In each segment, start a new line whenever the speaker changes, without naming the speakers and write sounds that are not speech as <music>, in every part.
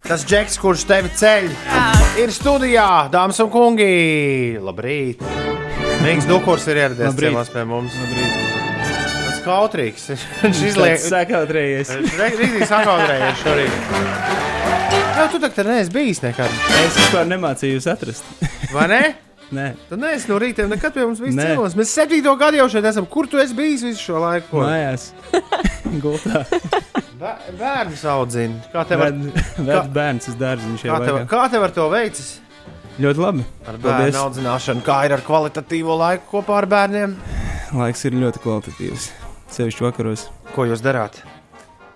Tas džeks, kurš tevi ceļ, ir studijā, dāmas un kungi. Labrīt! Mīgs Dukurs ir ieradies
Labrīt.
ciemos pie mums.
Labrīt.
Tas kautrīgs. Viņš
Izliek,
izliek.
sakautrējies.
Rītīgi sakaudrējies šorīt. Jā, tu tak te neesi bijis nekad,
Es vispār nemācīju jūs atrast. <laughs>
vai ne?
Nē,
Tu neesi no rīta nekad pie mums bijis
Nē.
ciemos. Mēs septīto gadu jau šeit esam. Kur tu esi bijis visu šo laiku? <laughs>
mājās. Gultā.
Bē- Bērnus audzini. Kā tev ar,
Vēl vēl bērns uz dārziņu
kā
šajā
tev,
laikā.
kā tev ar to veicis?
Ļoti labi.
Ar
Paldies.
bērnu audzināšanu, kā ir ar kvalitatīvo laiku kopā ar bērniem?
Laiks ir ļoti kvalitatīvs. Sevišķi vakaros.
Ko jūs darāt?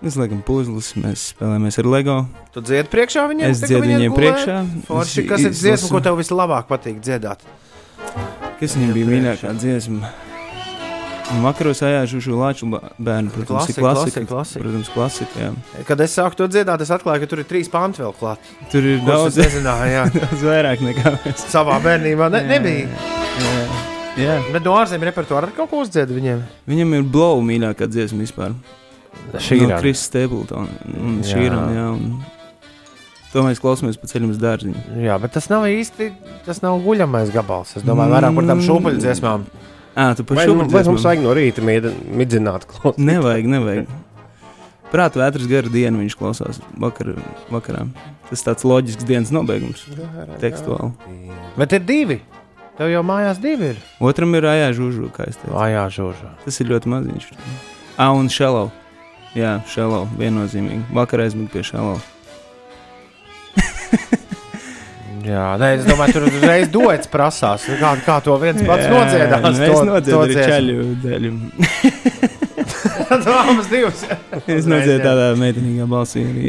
Mēs liekam puzles, mēs spēlējamies ar LEGO.
Tu dziedi priekšā viņiem?
Es dziedu viņiem priekšā.
Forši,
es
kas ir dziesma,
izlasu-
ko tev vislabāk patīk dziedāt?
Kas viņam bija mīļākā dziesma? Un Vakaros ajāžu šo lāču ba- bērnu. Protams,
Klasika,
ir klasika.
klasika, klasika.
Protams, klasika. Jā.
Kad es sāku to dziedāt, es atklāju, ka tur ir trīs panti vēl klāt.
Tur ir
Daudz
daudz,
nezināju,
<laughs>
jā.
daudz vairāk nekā mēs.
Savā bērnībā ne,
Jā.
nebija.
Jā. jā.
Bet no ārzemju repertuāra arī kaut ko uzdzied viņiem.
Viņam ir blow mīļākā dziesma vispār. no
Šīrāna.
Krista Stapletona un
Jā.
Šīrana. jā, un To mēs klausāmies pa ceļam uz dārziņu.
Jā, bet tas nav īsti, tas nav guļamais gabals. Es domāju, vairāk par tām
Mm.
šūpuļu dziesmām.
Ā, tu par
Vai,
šo
nu, vai mums vajag no rīta mied- midzināt
<laughs>
klausīt?
Nevajag, nevajag. Prāta vētras gara diena viņš klausās vakar, vakarā. Tas tāds loģisks dienas nobeigums, tekstuāli.
Bet ir divi. Tev jau mājās divi ir.
Otram ir ājā žūžu, kā es teicu.
Vājā žūžā.
Tas ir ļoti maziņš. Ā, un šalau. Jā, šalau, viennozīmīgi. Vakar aizmigu pie šalau.
Jā, nē, es domāju, tur uzreiz dots prasās. Kā, kā to viens pats nociedās?
Jā, Es
to-
nociedu
to
arī
dziesmu.
čaļu dēļ.
Dāmas divas.
Es
Uzreiz,
nociedu
jā.
tādā meitenīgā balsī
<laughs>
arī.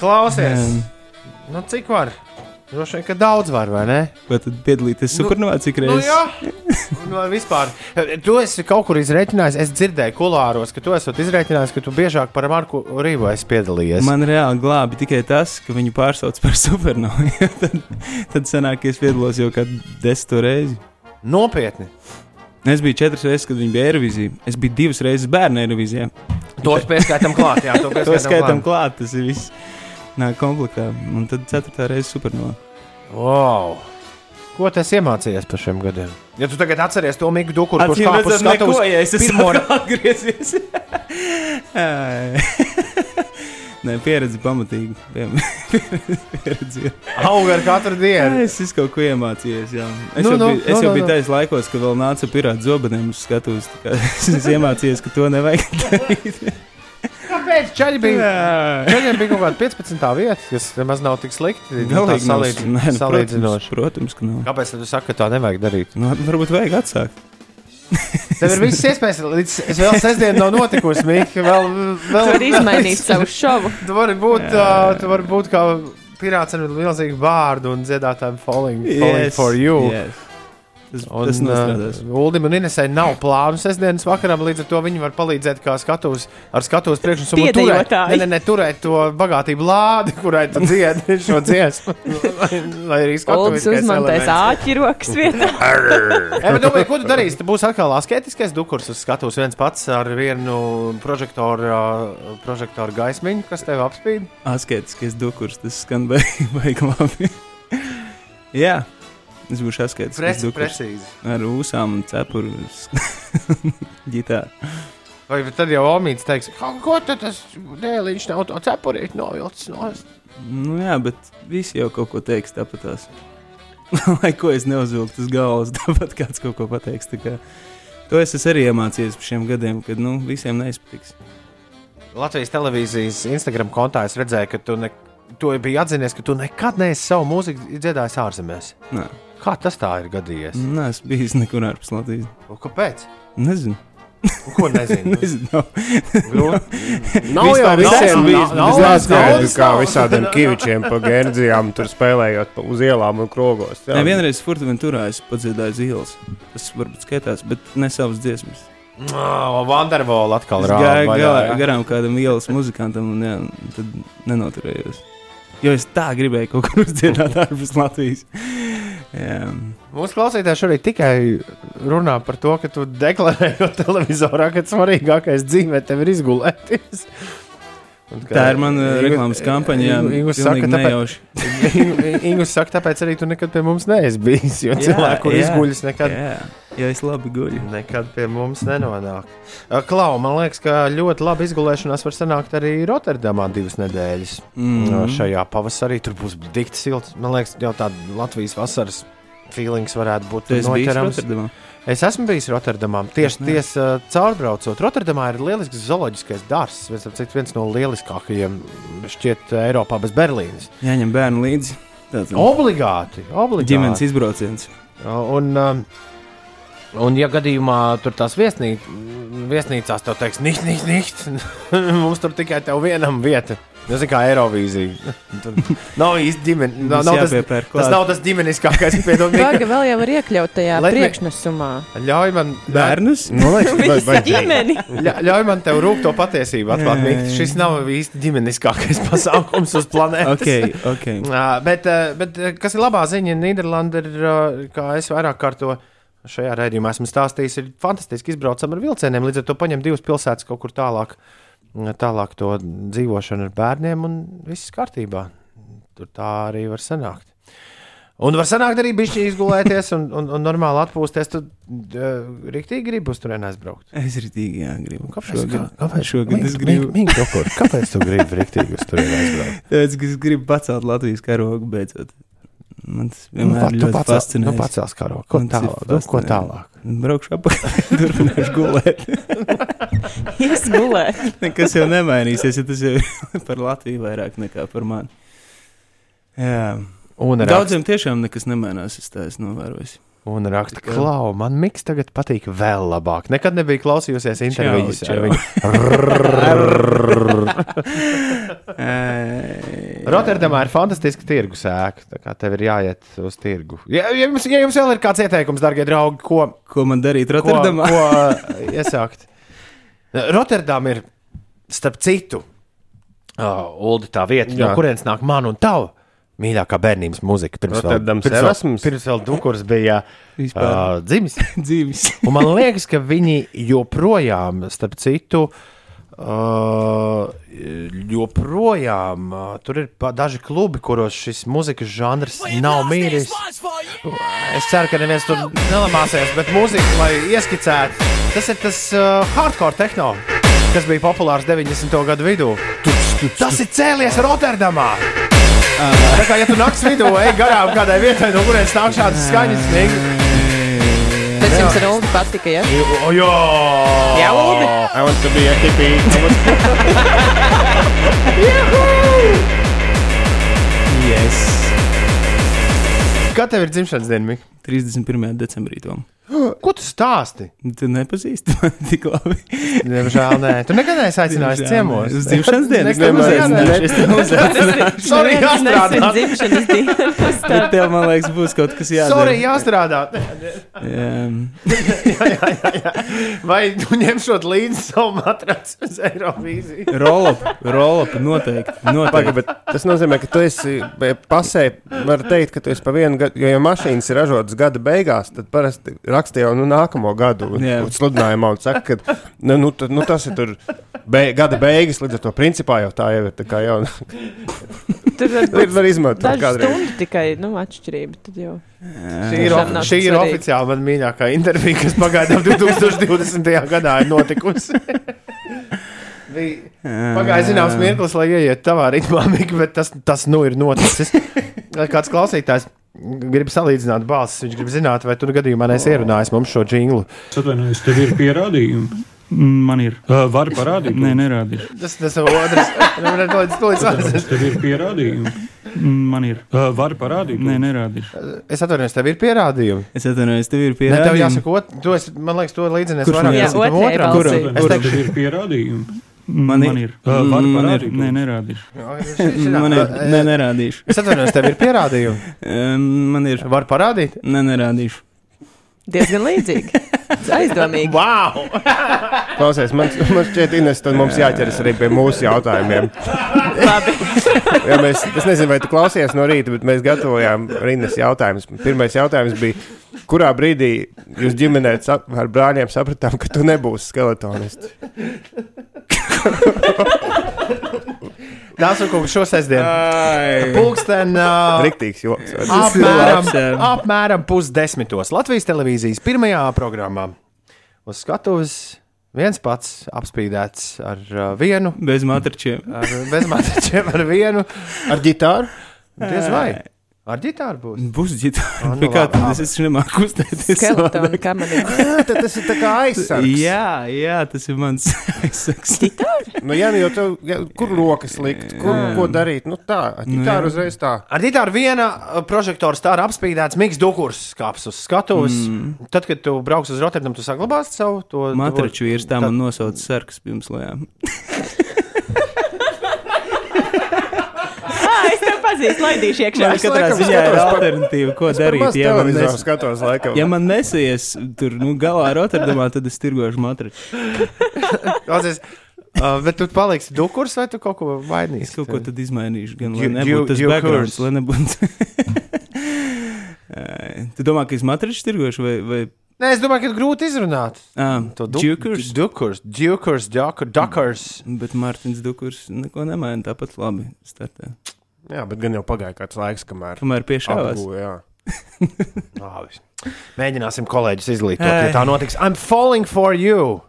Klausies,
Um,
nu cik var? Droši vien, ka daudz var, vai ne?
Vai tad piedalīties
Nu-
supernovā cik
Nu,
reizes?
jā, nu, vispār. Tu esi kaut kur izreikinājis. Es dzirdēju, kulāros, ka tu esat izreikinājis, ka tu biežāk par Marku Rīvu esi piedalījies.
Man reāli glābi tikai tas, ka viņu pārsauc par <laughs> supernovu. jo tad, tad sanāk, ka es piedalos jau kādu desmito reizi. Nu,
Nopietni.
Es biju četras reizes, kad viņi bija Eirovizijā. Es biju divas reizes bērnu Eirovizijā.
To pieskaitām klāt, jā,
<laughs>
to
To skaitām
pieskaitām klāt.
klāt, tas ir viss. Nāk komplektā. Un tad ceturtā reize supernovā.
Wow. Ko tu esi iemācījies par šiem gadiem? Ja tu tagad atceries to Miku Duku, kurš
Acīm
kāpj uz
redzot, neko,
skatuves,
ja es esmu <laughs>
pirmo
pirmo atgriezies. Ai. <laughs> Nē, pieredze pamatīgi. <laughs> Pieredze ir.
aug ar katru
Jā,
dienu.
es esmu kaut ko iemācījies. Jā. Es
Nu,
nu, jau
nu,
biju,
nu,
es jau
nu,
biju
nu.
tajos laikos, kad vēl nāca pirāta zobeniem uz skatuves. tā kā <laughs> Es esmu iemācījies, ka to nevajag darīt.
Kāpēc? Čaļi bija,
Jā.
čaļiem bija kaut kāda 15. vieta, kas nemaz nav tik slikti. Nu, tā
Galīgi nav s-
salīdz-
nē, nu, Protams,
Salīdzinoši.
protams, ka nav.
Kāpēc tu saki, ka tā nevajag darīt?
Nu, varbūt vajag atsākt.
Tev ir visas iespējas, līdz es vēl sestdien nav notikusi, Mika. Vēl, vēl, <laughs>
Tu vari
vēl-
izmainīt savu šovu.
Tu vari būt,
Jā.
uh, tu vari būt kā pirāts ar milzīgu vārdu un dziedātājiem falling, falling
Yes,
for you.
yes. Tas,
Un,
tas nostrādās.
uh, Uldim un Inesai nav plānu sestdienas vakaram, līdz ar to viņi var palīdzēt kā skatūs, ar skatuves priekšnesumu turēt,
Piedejotāji.
ne, ne, ne, turēt to bagātību lādi, <laughs> kurai tu dziedi <laughs> šo dziesmu. Lai- Lai arī
Olds
skatuves
uzmantais āķirokas vietā.
Jā, bet domāju, ko tu darīsi? Tu būsi atkal asketiskais dukurs. Es skatos viens pats ar vienu prožektoru, ā, prožektoru gaismiņu, kas tev apspīd.
Asketiskais dukurs, tas skan <laughs> baigi labi. Jā, es būšu asketiskais
Preci,
dukurs.
precīzi.
Ar ūsām un cepuru. <laughs> uz Ģitā.
Vai tad jau Omīts teiks, "Ko- ko tad tas dēliņš nav to cepurīt novilcis nost?
Nu, jā, bet visi jau kaut ko teiks tāpatās. <laughs> Lai ko es neuzvilku uz galvas, <laughs> tāpat kāds kaut ko pateiks. tā Kā. To es esmu arī iemācījies par šiem gadiem, kad nu, visiem neizpatiks.
Latvijas televīzijas Instagram kontā es redzēju, ka tu ne, to biji atzinies, ka tu nekad neesi savu mūziku dziedājis ārzemēs.
Nē,
Kā tas tā ir gadījies? Mm.
nē es biju nekur ārpus Latvijas.
Kāpēc?
Nezinu. <laughs>
Un Ko nezinu? Nu,
nezinu. nav.
Grūti.
Nav
Vispār
jau
visiem
visiem
bijis,
bijis
bet
nav-
tāds
nav-
kā
nav-
visādiem kivičiem pa gērdzijām, tur spēlējot pa- uz ielām un krogos.
Nē, vienreiz Furtuventūrā es padziedāju zīles. Tas varbūt skaitās, bet ne savas dziesmas.
Vandervola atkal
Es
rāda.
gāju
vaļā,
galā,
jā.
garām kādam ielas muzikantam un, jā, un tad nenoturējos. Jo es tā gribēju kaut kur uzdziedāt ārpus Latvijas. jā.
Mūsu klausītāji šorīt tikai runā par to, ka tu deklarēji televizorā, ka svarīgākais dzīvē tev ir izgulēties. Un kā-
Tā ir mana
Ingu-
reklāmas kampaņa. Jā,
Ingu- Ingus
pilnīgi
saka, tāpēc-
nejauši.
Ingu- Ingus saka, tāpēc arī tu nekad pie mums neesi bijis. Jo
Jā,
cilvēki, kur
jā.
izguļas, nekad,
Jā, jā, es labi guļu.
nekad pie mums nenonāk. Uh, Klau, man liekas, ka ļoti labi izgulēšanās var sanākt arī Rotterdamā divas nedēļas. Mm.
Mm.
Šajā pavasarī tur būs dikti silts. Man liekas, jau tāda Latvijas vasaras feelings varētu būt
Tu esi bijis
noķerams.
Rotterdamā?
Es esmu bijis Rotterdamā. Tieši
Es
ties, uh, caurbraucot. Rotterdamā ir lielisks zooloģiskais dārsts. Viens, ap citu, viens no lieliskākajiem šķiet uh, Eiropā bez Berlīnes.
Jāņem bērnu līdzi. Tāds
Obligāti! obligāti.
Mhm. ģimenes izbrauciens.
Un, um, un, ja gadījumā tur tās viesnī, viesnīcās tev teiks, nīc, nīc, nīc, <laughs> mums tur tikai tev vienam vieta. Tas ir kā Eirovīzija. <laughs> Tur nav īsti ģimenes. Nav, nav tas,
jāpiepērk
tas
klāt.
nav tas ģimenes, kā es pieņemu.
Gaga vēl jau var iekļaut tajā
Let me-
priekšnesumā.
Ļauj man,
Bērnus?
Nu,
Man liekas, tas
Visa
ir ģimene.
ģimene.
Ļa- Ļauj man tev rūkt to patiesību,
Jā, jā,
atklāt.
jā.
Šis nav īsti ģimeniskākais <laughs> pasākums uz planētas.
<laughs> Ok, ok.
Ā, Bet, eh, bet eh, kas ir labā ziņa, Nīderlanda ir, eh, kā es vairāk kārto šajā redzējumā esmu stāstījis, ir fantastiski izbraucama ar vilcieniem. Līdz ar to paņem divas pilsētas kaut kur tālāk, tālāk to dzīvošanu ar bērniem un viss kārtībā. Tur tā arī var sanākt. Un var sanākt arī bišķi izgulēties un, un, un normāli atpūsties. Tad uh, rīktīgi gribas tur aizbraukt.
Es ritīgi jā, gribu.
Kāpēc?
Šogad,
kā- kāpēc?
šogad es
Mink-
gribu.
mink- mink, Jokur, Kāpēc tu gribi rīktīgi uz turieni aizbraukt?
Tāpēc, ka es gribu pacelt Latvijas karogu beidzot. Man tas
Nu,
vienmēr
pat-
ir
tu
ļoti
pacel-
fascinējis.
Nu, pacels karo. Ko
Man tas ir
tālāk? Nu, Ko
fascinējoši.
tālāk?
Braukšu apakaļ, <laughs> turpināšu gulēt.
Es gulēju.
Nekas jau nemainīsies, ja tas jau <laughs> ir par Latviju vairāk nekā par mani. Jā.
Un raksta,
Daudziem tiešām nekas nemainās, es tā esmu novērojis.
un raksta klau, man miks tagad patīk vēl labāk. Nekad nebija klausījusies intervijas
Čau,
ar
čau.
viņu.
<laughs>
Rotterdamā ir fantastiska tirgus ēka. Tā kā tev ir jāiet uz tirgu. Ja, ja, jums, ja jums vēl ir kāds ieteikums, darbie draugi, ko,
Ko man darīt
ko,
Rotterdamā? <laughs>
ko eh, iesākt? Rotterdam ir starp citu, uh, Ulu, tā vieta, Jā. no
Jā.
kurienes nāk mana un tava mīļākā bērnības mūzika. Pirms
Rotterdams
pirms vēl,
Erasmus?
pirms vēl Dunkurs bija
Vispār
uh, dzimis.
dzīves.
Un man liekas, ka viņi joprojām, starp citu, uh, joprojām uh, tur ir pa- daži klubi, kuros šis mūzikas žanrs nav mīlis. Es ceru, ka neviens tur nelamāsies, bet mūzika, lai ieskicētu, tas ir tas uh, hardcore tehno, kas bija populārs 90. gadu vidū. Tas ir cēlies Rotterdamā! Tā kā, ja tu naktas vidū ej garām kādai vietai, no kurienes nāk šādas skaņas, Nīgi,
Tas jums ar Uldu patika, ja?
O, jā,
Jā, Uldi?
I want to be a hippie. I want to
Yes.
Kā tev ir dzimšanas diena, Mikls?
31. decembrī tom.
Ko tu stāsti?
Tu nepazīsti mani tik labi.
Diemžēl nē, tu nekad neesi aicinājis
Diemžēl
ciemos.
ne. Uz
<laughs>
dzimšanas dienu es
Nekad
neesmu
neesi
aicinājuši. Es tev uzzinu.
Sorry,
Neviens
jāstrādā.
nezin dzimšanas dienas.
Bet tev, man liekas, būs kaut kas jādara.
Sorry, jāstrādā.
Jā.
Vai tu ņemšot līdzi savu matraci uz Eirovīziju?
Rollup, rollup, noteikti.
<laughs> Paga,
noteikti.
bet tas nozīmē, ka tu esi e, pasē, var teikt, ka tu esi pa vienu gadu, jo ja mašīnas ir ražotas gada beigās, tad parasti raksta jau nu, nākamo gadu un,
Jā.
un sludinājumā un saka, ka nu, nu, tad, nu, tas ir tur be, gada beigas, līdz ar to principā jau tā jau ir. Tā kā jau <laughs>
Tur var
ir
būt
var izmantot
dažu
kādreiz.
stundu tikai, nu, atšķirība. Tad jau.
Šī ir,
Tiešām
ofi-
nav
šī
tik
ir
svarīgi.
oficiāli man mīļākā intervija, kas
<laughs>
pagaidām 2020. gadā ir notikusi. Bija Pagājis zināms mirklis, lai ieietu tavā ritmā, <laughs> Mika, bet tas, tas nu ir noticis. Kāds klausītājs grib salīdzināt balsis, viņš grib zināt, vai tu gadījumā neesi ierunājis mums šo jinglu.
Es atvainojos, tev ir pierādījumi.
Man ir.
Uh, var parādīt,
Nē, nerādīšu.
Tas tas ir <laughs> otrs. Tolīdz, tolīdz,
Tāpēc
tolīdz.
tev ir pierādījumi.
Man ir.
Uh, var parādīt,
Nē, nerādīšu.
Es atvainojos, tev ir pierādījumi.
Es atvainojos, tev
Ne,
ir
tev
pierādījumi.
jāsaka, ot, tu esi, man liekas, to līdzinies
Kurš man
vairāk
Jā,
nekā tam
otrai
otram.
balsi.
balsī.
Es
Atvainojos,
teikšu-
tev ir pierādījumi.
Man ir. Mm,
Uh, var
Man ir.
parādīt.
Nē, nerādīšu. Man ir. Nē,
Es
nerādīšu.
atvainojos, tev ir pierādījumi.
Um, Man ir.
Var parādīt?
Nē, nerādīšu.
Diezgan līdzīgi. Aizdomīgi.
Wow!
Klausies, man, man šķiet, Ines, tad mums jāķeras arī pie mūsu jautājumiem. <laughs>
Labi.
Jā, mēs, es nezinu, vai tu klausies no rīta, bet mēs gatavojām Rīnas jautājumus. Pirmais jautājums bija, kurā brīdī jūs ģimenē sa- ar brāļiem sapratām, ka tu nebūsi skeletonists?
Nāc, kungs, šo sestdienu.
Ai,
Pulksten. Uh,
Riktīgs joks. vai ne?
Tas ir
Apmēram,
labs, jā.
apmēram pusdesmitos Latvijas televīzijas pirmajā programmā. Uz skatuves viens pats apspīdēts ar uh, vienu,
bez matračiem.
ar <laughs> bezmateriālu, ar vienu.
Ar ģitāru?
Diez vai? Ar ģitāru būs.
Būs
Ah,
ģitāra.
nu
Nu, kā
labi,
tad es, es nemāku uzstēties?
Skeletonu kamerā.
Jā, tad tas ir tā kā aizsargs.
Jā, jā, tas ir mans <laughs> aizsaks.
Nu, jā, nu, jo tev, jā, kur rokas likt, kur,
Jā.
ko darīt? Nu tā, ar
Nu,
ģitāru
jā.
uzreiz tā.
Ar ģitāru viena uh, prožektora stāra apspīdēts Mikls Dukurs kāps uz skatuves. Mm. Tad, kad tu brauks uz Rotterdamu, tu saglabāsi savu to
Matraču vīrs tā
Tad-
man nosauca sarkas pirms lējām.
Ah, es tev pazīstu, laidīšu iekšā.
Man
es
katrā
laikam
ziņā ir
skatos pa-
alternatīva, ko darīt.
Pirmās
Ja man,
televizoru
nes...
skatos laikam.
ja man nesies tur nu, galā Rotterdamā, tad es tirgošu matraču.
Klausies, uh, bet tu paliksi Dukurs vai tu kaut ko
Es
mainīsi?
kaut ko tad izmainīšu, gan lai
Dju- dju-
nebūtu tas
dju
backgrounds,
curse.
lai nebūtu. Ai, Tu domā, ka es matraču tirgošu vai... vai...
Nē, es domāju, ka ir grūti izrunāt.
Ah,
To
Dukurs?
Dukurs, Mm. Dukurs, Dukurs. Dukurs.
Bet Mārtiņš Dukurs neko nemaina tāpat labi. Startē.
jā, bet gan jau pagāja kāds laiks, kamēr.
Kamēr piešāvās.
Apgūja, jā.
Labi. Mēģināsim kolēģis izglītot,
Ei.
ja tā notiks. I'm falling for you!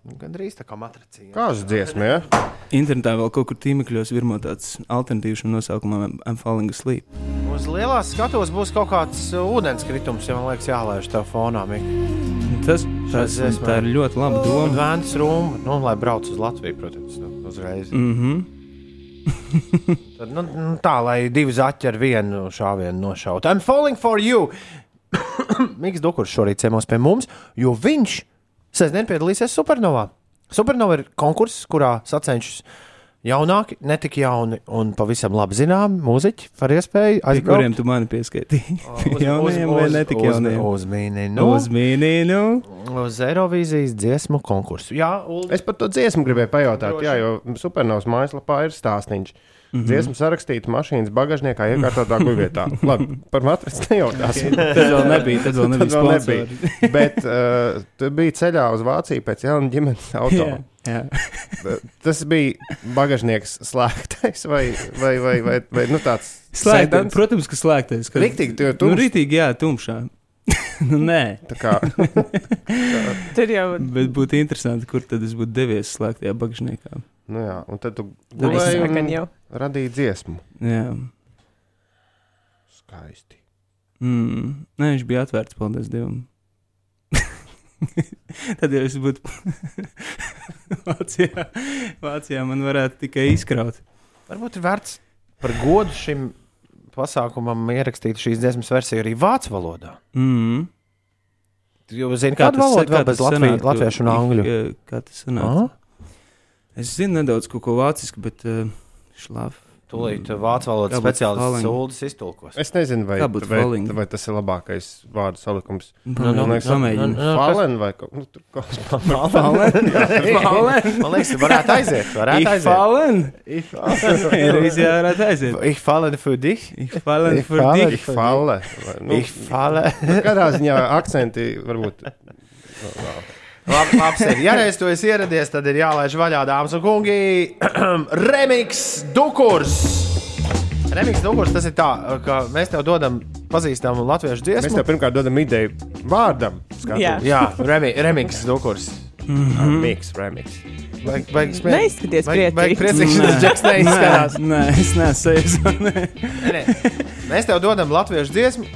Nu, Gan drīz tā kā matricīna.
Kāds dziesma, jā?
Internetā vēl kaut kur tīmekļos virmo tāds alternatīvs nosaukumam I'm falling asleep.
Uz lielās skatuves būs kaut kāds uh, ūdenskritums, ja man liekas, jālaiž tā fonā. Mik.
Tas, tas
Šāds dziesmā.
tā ir ļoti laba
Un
doma.
vēns rūma, nu, lai brauc uz Latviju, protams, nu, uzreiz.
Mm -hmm.
Tad, nu, nu, tā, lai divi zaķi ar vienu šāvienu nošautu. I'm falling for you! <coughs> Mikls Dukurs šorīt ciemos pie mums, jo viņš sestdien piedalīsies Supernovā. Supernova ir konkurss, kurā sacenšas jaunāki, ne tik jauni un pavisam labi zināmi mūziķi par iespēju
Pie kuriem
aizbraukt
tu mani <laughs> pieskaitīji?
uz-
Jaunajiem vai
uz-
ne tik
uz-
jaunajiem?
Uz mīniju,
Nu?
uz,
Uz mīnīnu.
uz Eirovīzijas dziesmu konkursu. Jā, Ulu.
Es par to dziesmu gribēju pajautāt,
Droši.
jā, jo supernovas mājaslapā ir stāstījums.
Mhm.
Mm -hmm. Dziesmu sarakstīta mašīnas bagāžniekā, iekārtotā
<laughs>
guļvietā. Labi, par matrasu nejautās.
Tad vēl nebija. Tad vēl
Tad
nebija.
vēl
sponsori.
nebija. <laughs> Bet uh, tu biji ceļā uz Vāciju pēc jauna
<laughs>
ģimenes auto.
Jā, jā.
Tas bija bagāžnieks slēgtais vai, vai, vai, vai, vai nu tāds
Slēgtais.
sēdens?
Protams, ka slēgtais. Kad...
Riktīgi, tu jau
Nu,
tumšs.
rītīgi, jā, tumšā. <laughs> nu, nē,
Tā kā,
Tur jau
bet būtu interesanti, kur tad es būtu devies slēgtajā bagžniekā.
nu jā, un tad tu
Tad es-
gulēji
gan
un
jau.
radīji dziesmu.
Jā.
Skaisti.
Mm. Nē, viņš bija atvērts, paldies Dievam. <laughs> Tad jau es būtu <laughs> Vācijā. Vācijā man varētu tikai izkraut.
Varbūt ir vērts par godu šim pasākumam ierakstīt šīs dziesmas versiju arī vācu valodā.
Mm.
Jo zinu, Nu, kāda valoda vēl bez latvie- latviešu un angļu.
eh, Kā tas sanāk?
Aha.
Es zinu nedaudz kaut ko vācisku, bet uh, šlāf.
Tūlīt vācu valodas
Jābūt
speciālists
falling.
Ulris iztulkos.
Es nezinu, vai,
Kā būtu
vai,
falling?
vai tas ir labākais vārdu salikums.
Nu, nu,
Man liekas,
nu,
Pamēģini.
nu,
Fallen vai kaut nu, tur kaut kas tāds. <laughs>
Falen?
nu,
<laughs> Falen?
Man liekas, varētu aiziet. Varētu
Ich
aiziet.
falen? <laughs>
<laughs> nu,
Reizē varētu aiziet.
Ich falle für dich.
Ich falen
Ich
for
falen.
dich.
Ich falle. vai- Nu,
Ich falle.
kādā ziņā
<laughs>
akcenti varbūt.
Labi, labs ir. Ja reiz tu esi ieradies, tad ir jālaiž vaļā, dāmas un kungi. <clears throat> Remix Dukurs. Remix Dukurs tas ir tā, ka mēs tev dodam pazīstamu latviešu
Mēs
dziesmu.
tev pirmkārt dodam ideju vārdam. skatu.
Jā.
Jā, remi, Remix Dukurs.
Ah, Mix, remix.
Vajag, vajag smie-
Neizskaties
vajag- Vajag
priecīgs.
priecīgs, ka tas džeks neizskatās.
Nē, nē, es
<laughs>
neesmu.
Nē, nē. Mēs tev dodam latviešu dziesmu.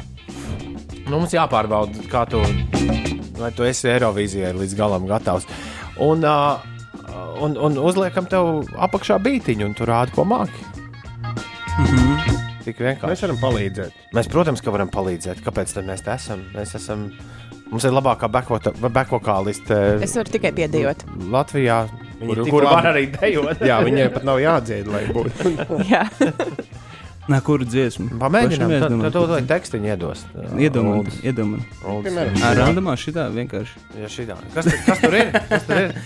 Nu, mums jāpārbauda, kā tu, vai tu esi Eirovīzijai līdz galam gatavs. Un, uh, un, un uzliekam tev apakšā bītiņu, un tu rādi, ko māki. Tik vienkārši.
Mēs varam palīdzēt.
Mhm. Mēs, protams, ka varam palīdzēt. Kāpēc tad mēs te esam? Mēs esam. Mums ir labākā bekvokāliste
Es varu tikai piedejot.
Latvijā,
ir
kur,
tik
kur
labi.
var arī dejot.
Jā, viņiem pat nav jādzied, lai būtu.
Jā.
Nā, kuru dziesmu?
Nu, Pamēģinām,
Pašam
tad,
jāizdomā.
tad to tekstiņu iedos.
Iedomājieties, iedomājieties.
Piemēram.
Ar randomā šitā
<clears throat>
vienkārši.
Ja šitā. kas, tu- kas tur ir? Kas tur ir?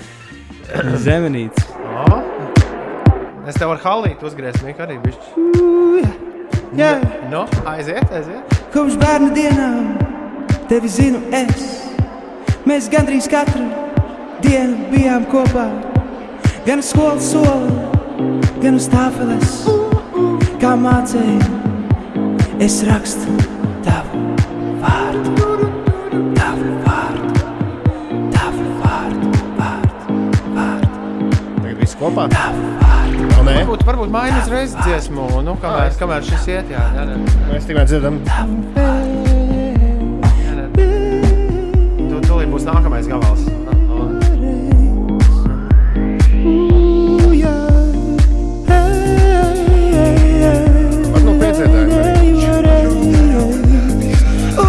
Zemenīts.
Ā? Ah. Es tev ar halītu uzgriezu, nekā arī bišķi.
Jā,
Nu, aiziet, aiziet.
kopš bērna dienām tevi zinu es. Mēs gandrīz katru dienu bijām kopā. Gan uz skolas soli, gan uz tāfeles. Kā mācēji, es rakstu tavu vārdu. Tavu vārdu, tavu vārdu, vārdu, vārdu.
Tagad viss kopā. O, nē,
Varbūt, varbūt maini uzreiz dziesmu, nu, kamēr, kamēr šis iet. Jā, jā, jā.
mēs tikai dzirdam.
Tu, tūlīt būs nākamais gabals.
Var nu piedzīvot.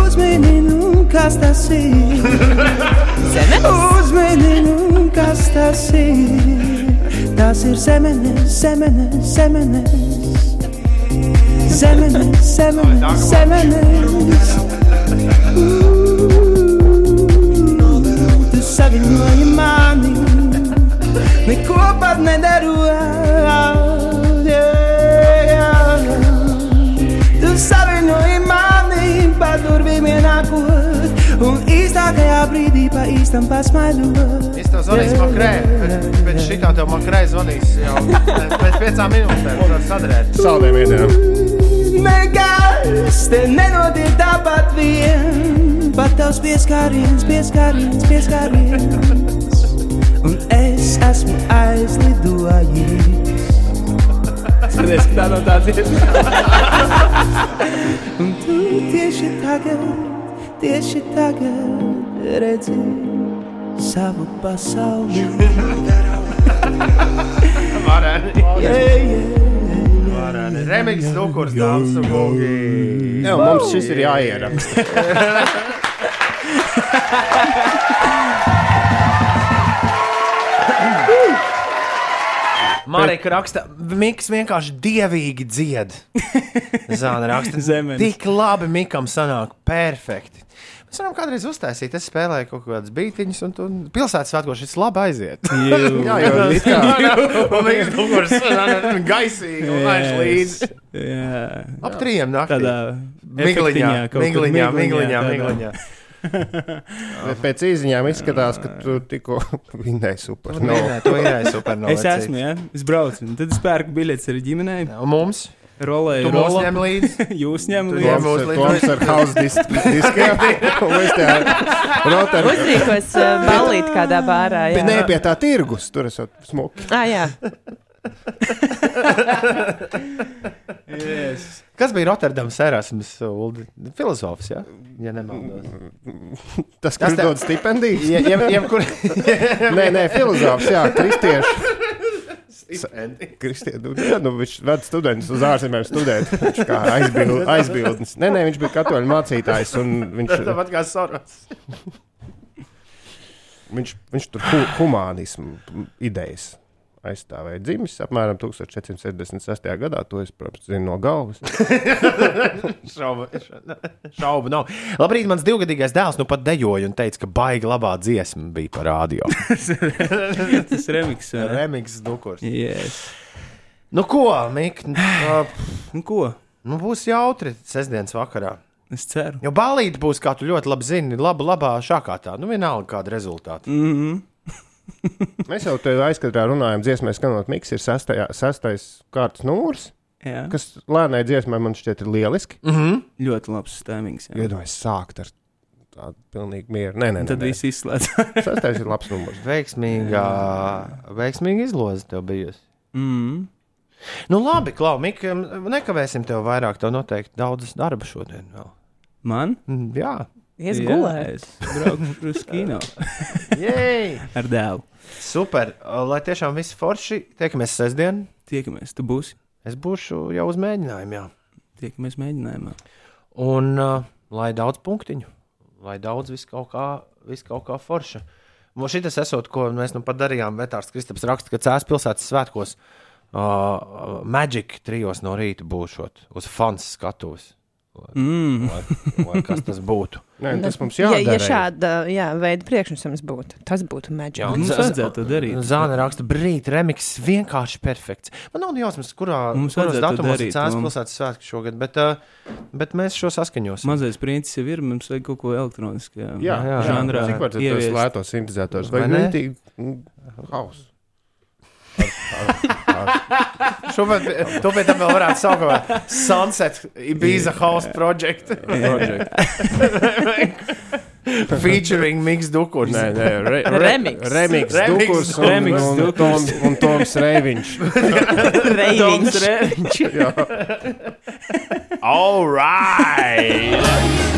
Uzmanību, kas tas ir? Uzmanību, kas tas ir? nu, Tas ir zemenes, zemenes, zemenes. Zemenes, zemenes, zemenes. Ū, Tu saviņoji mani, neko pat nedaru. Yeah, yeah. Tu saviņoji mani, pa durvīm ienākot, un īstākajā brīdī pa īstam pasmaidot.
Es tev zvanīšu makrē, bet- bet šitā tev makrē zvanīs jau pēc piecām minūtēm, kur var sadarēt.
Saldējiem iedēram.
Nekas te nenotiek tāpat vien, pat tavs pieskāriens, pieskāriens, pieskāriens. Un es esmu aizlidojis. Skaties, kā tā no tā dziesma. <laughs> Un tu tieši tagad, tieši tagad redzi savu <laughs> pasauli. <laughs>
Remix Dukurs, dāmas un kungi.
Jā, mums šis ir jāieraksta.
Marek raksta, Miks vienkārši dievīgi
<laughs>
dzied. Zāna raksta,
Zemenes.
Tik labi Mikam sanāk, perfekti. Mēs varam kādreiz uztaisīt, es spēlēju kaut kādas bītiņas, un, un pilsētas svētkos šis labi aiziet. <laughs>
Jā, jo
<laughs>
it kā
Miks Dukurs, gaisīgi un laiž līdzi.
Jā,
Ap trijiem naktī.
tādā
Migliņā,
efektiņā kaut kur,
migliņā, migliņā,
tādā.
migliņā.
<laughs>
pēc izziņām izskatās, ka tu tikko <laughs> vinnēji super.
Nu, nē, to ir supernovā.
Es esmu, ja? es braucu, un tad es pērku biļetes ar ģimenei,
Un mums?
rolēju,
Tu mums
rolēju.
ņem līdzi.
<laughs> Jūs ņemat
Tu
līdzi.
ņem. mūs
Toms,
līdz-
Toms ar house disk- diskiem. Un mēs tajā rotaram.
Uzrīkos uh, ballīt kādā bārā.
Pie-
Jā,
Nē, pie tā tirgus. Tur esat smuki.
ah, jā.
Yes.
Kas bija Rotterdams Erasmus? Uldi? Filozofs, ja? ja nemaldos.
Tas, kas
Tas tev-
dod stipendijas.
Ja, ja, ja, kur...
Nē, nē, filozofs, jā, kristieši. Kristieši, jā, nu, viņš ved studentus uz ārzemēm studēt. Viņš kā aizbild, aizbildnis. Nē, nē, viņš bija katoļu mācītājs un viņš,
Tāpat kā Soros.
viņš, viņš tur hu, humānismu idejas aizstāvēja dzimis apmēram 1476. gadā. To es, protams, zinu no galvas.
Šaubu, šaubu nav. Labrīt, mans divgadīgais dēls nu pat dejoja un teica, ka baigi labā dziesma bija par radio.
Tas remiks. vai ne?
<laughs> Remix dukurs.
Yes.
Nu ko, Mik, uh,
Nu ko?
nu būs jautri sestdienas vakarā.
Es ceru.
Jo balīti būs, kā tu ļoti labi zini, laba, labā šākā tā. Nu vienalga kāda rezultāta.
Mm -hmm.
Mēs jau te aizkadrā runājam, dziesmē skanot miks ir sastajā, sastais kārtas numurs,
Jā, Kas?
kas lēnai dziesmai man šķiet ir lieliski.
Mhm.
ļoti labs stāvings.
Iedomājieties, sākt ar tādu pilnīgi mieru. Nē, nē, nē,
Tad
nē.
viss izslēdz. <laughs>
Sastais ir labs numurs.
Veiksmīgā, veiksmīga izloze tev bijusi.
Mm.
Nu, labi, Klau, Mika, nekavēsim tev vairāk. Tev noteikti daudz darba šodien. Vēl.
Man?
Mm, Jā,
Es
Jā,
gulēju.
Es braucu uz kino
Jej!
ar dēlu.
super. Lai tiešām viss forši, tiekamies sestdien.
Tiekamies, tu būsi.
Es būšu jau uz mēģinājumā.
Tiekamies mēģinājumā.
Un uh, lai daudz punktiņu, lai daudz viss kaut kā, viss kaut kā forša. Mums šis esot, ko mēs nu pat darījām, Vetārs Kristaps raksta, ka Cēlā pilsētas svētkos Uh, Magic trijos no rīta būšot uz fans skatuves.
Mm.
Lai, lai kas tas būtu?
Nē, tas mums
ja,
jādara.
Nu, ja šāda jā, veida priekšnesums būtu, tas būtu maģisks.
Jā,
Mums
Z-
vajadzētu to darīt.
Zāne raksta, brīt, remiks vienkārši perfekts. Man nav jausmas, kurā
Mums
kuros
vajadzētu to
datumos
darīt,
ir cēlās
Tom.
pilsētas svētki šogad, bet, uh, bet mēs šo saskaņosim.
Mazais princis jau ir, mums vajag kaut ko elektronisku. Jā,
Jā, jā,
Jā,
jā.
žanrā
Cik var tas
ieviest.
lētos sintetizators?
Vai
Vai
ne?
nē? Haus.
Šobrīd to pēc tam vēl varētu saukt par Sunset Ibiza House Project. Featuring Miks Dukurs.
Nē, nē, re, re,
Remix.
Remix,
Remix.
Dukurs un,
Remix,
un,
Dukurs.
Toms, un Toms Reiviņš.
<laughs>
Reiviņš.
All right!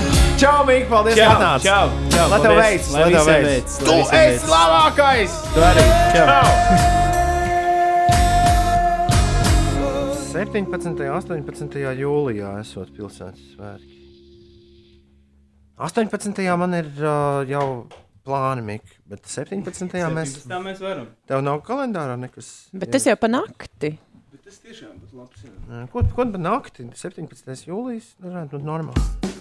<laughs> Čau, Mik, paldies, ka atnāc!
Čau, čau,
Lai tev
paldies.
veicas, lai
Lai
tev
visiem
veicas!
veicas, lai
Tu
visiem veicas.
esi labākais!
Tu arī. Čau.
17. un 18. jūlijā esot pilsētas svētki. 18. man ir uh, jau plāni, Mik, bet 17. mēs
Tā mēs varam.
tev nav kalendārā nekas.
Bet tas jau pa nakti.
Bet tas tiešām būtu labs. Jā.
Ko, ko pa nakti? 17. jūlijas, varētu būt nu, normāli.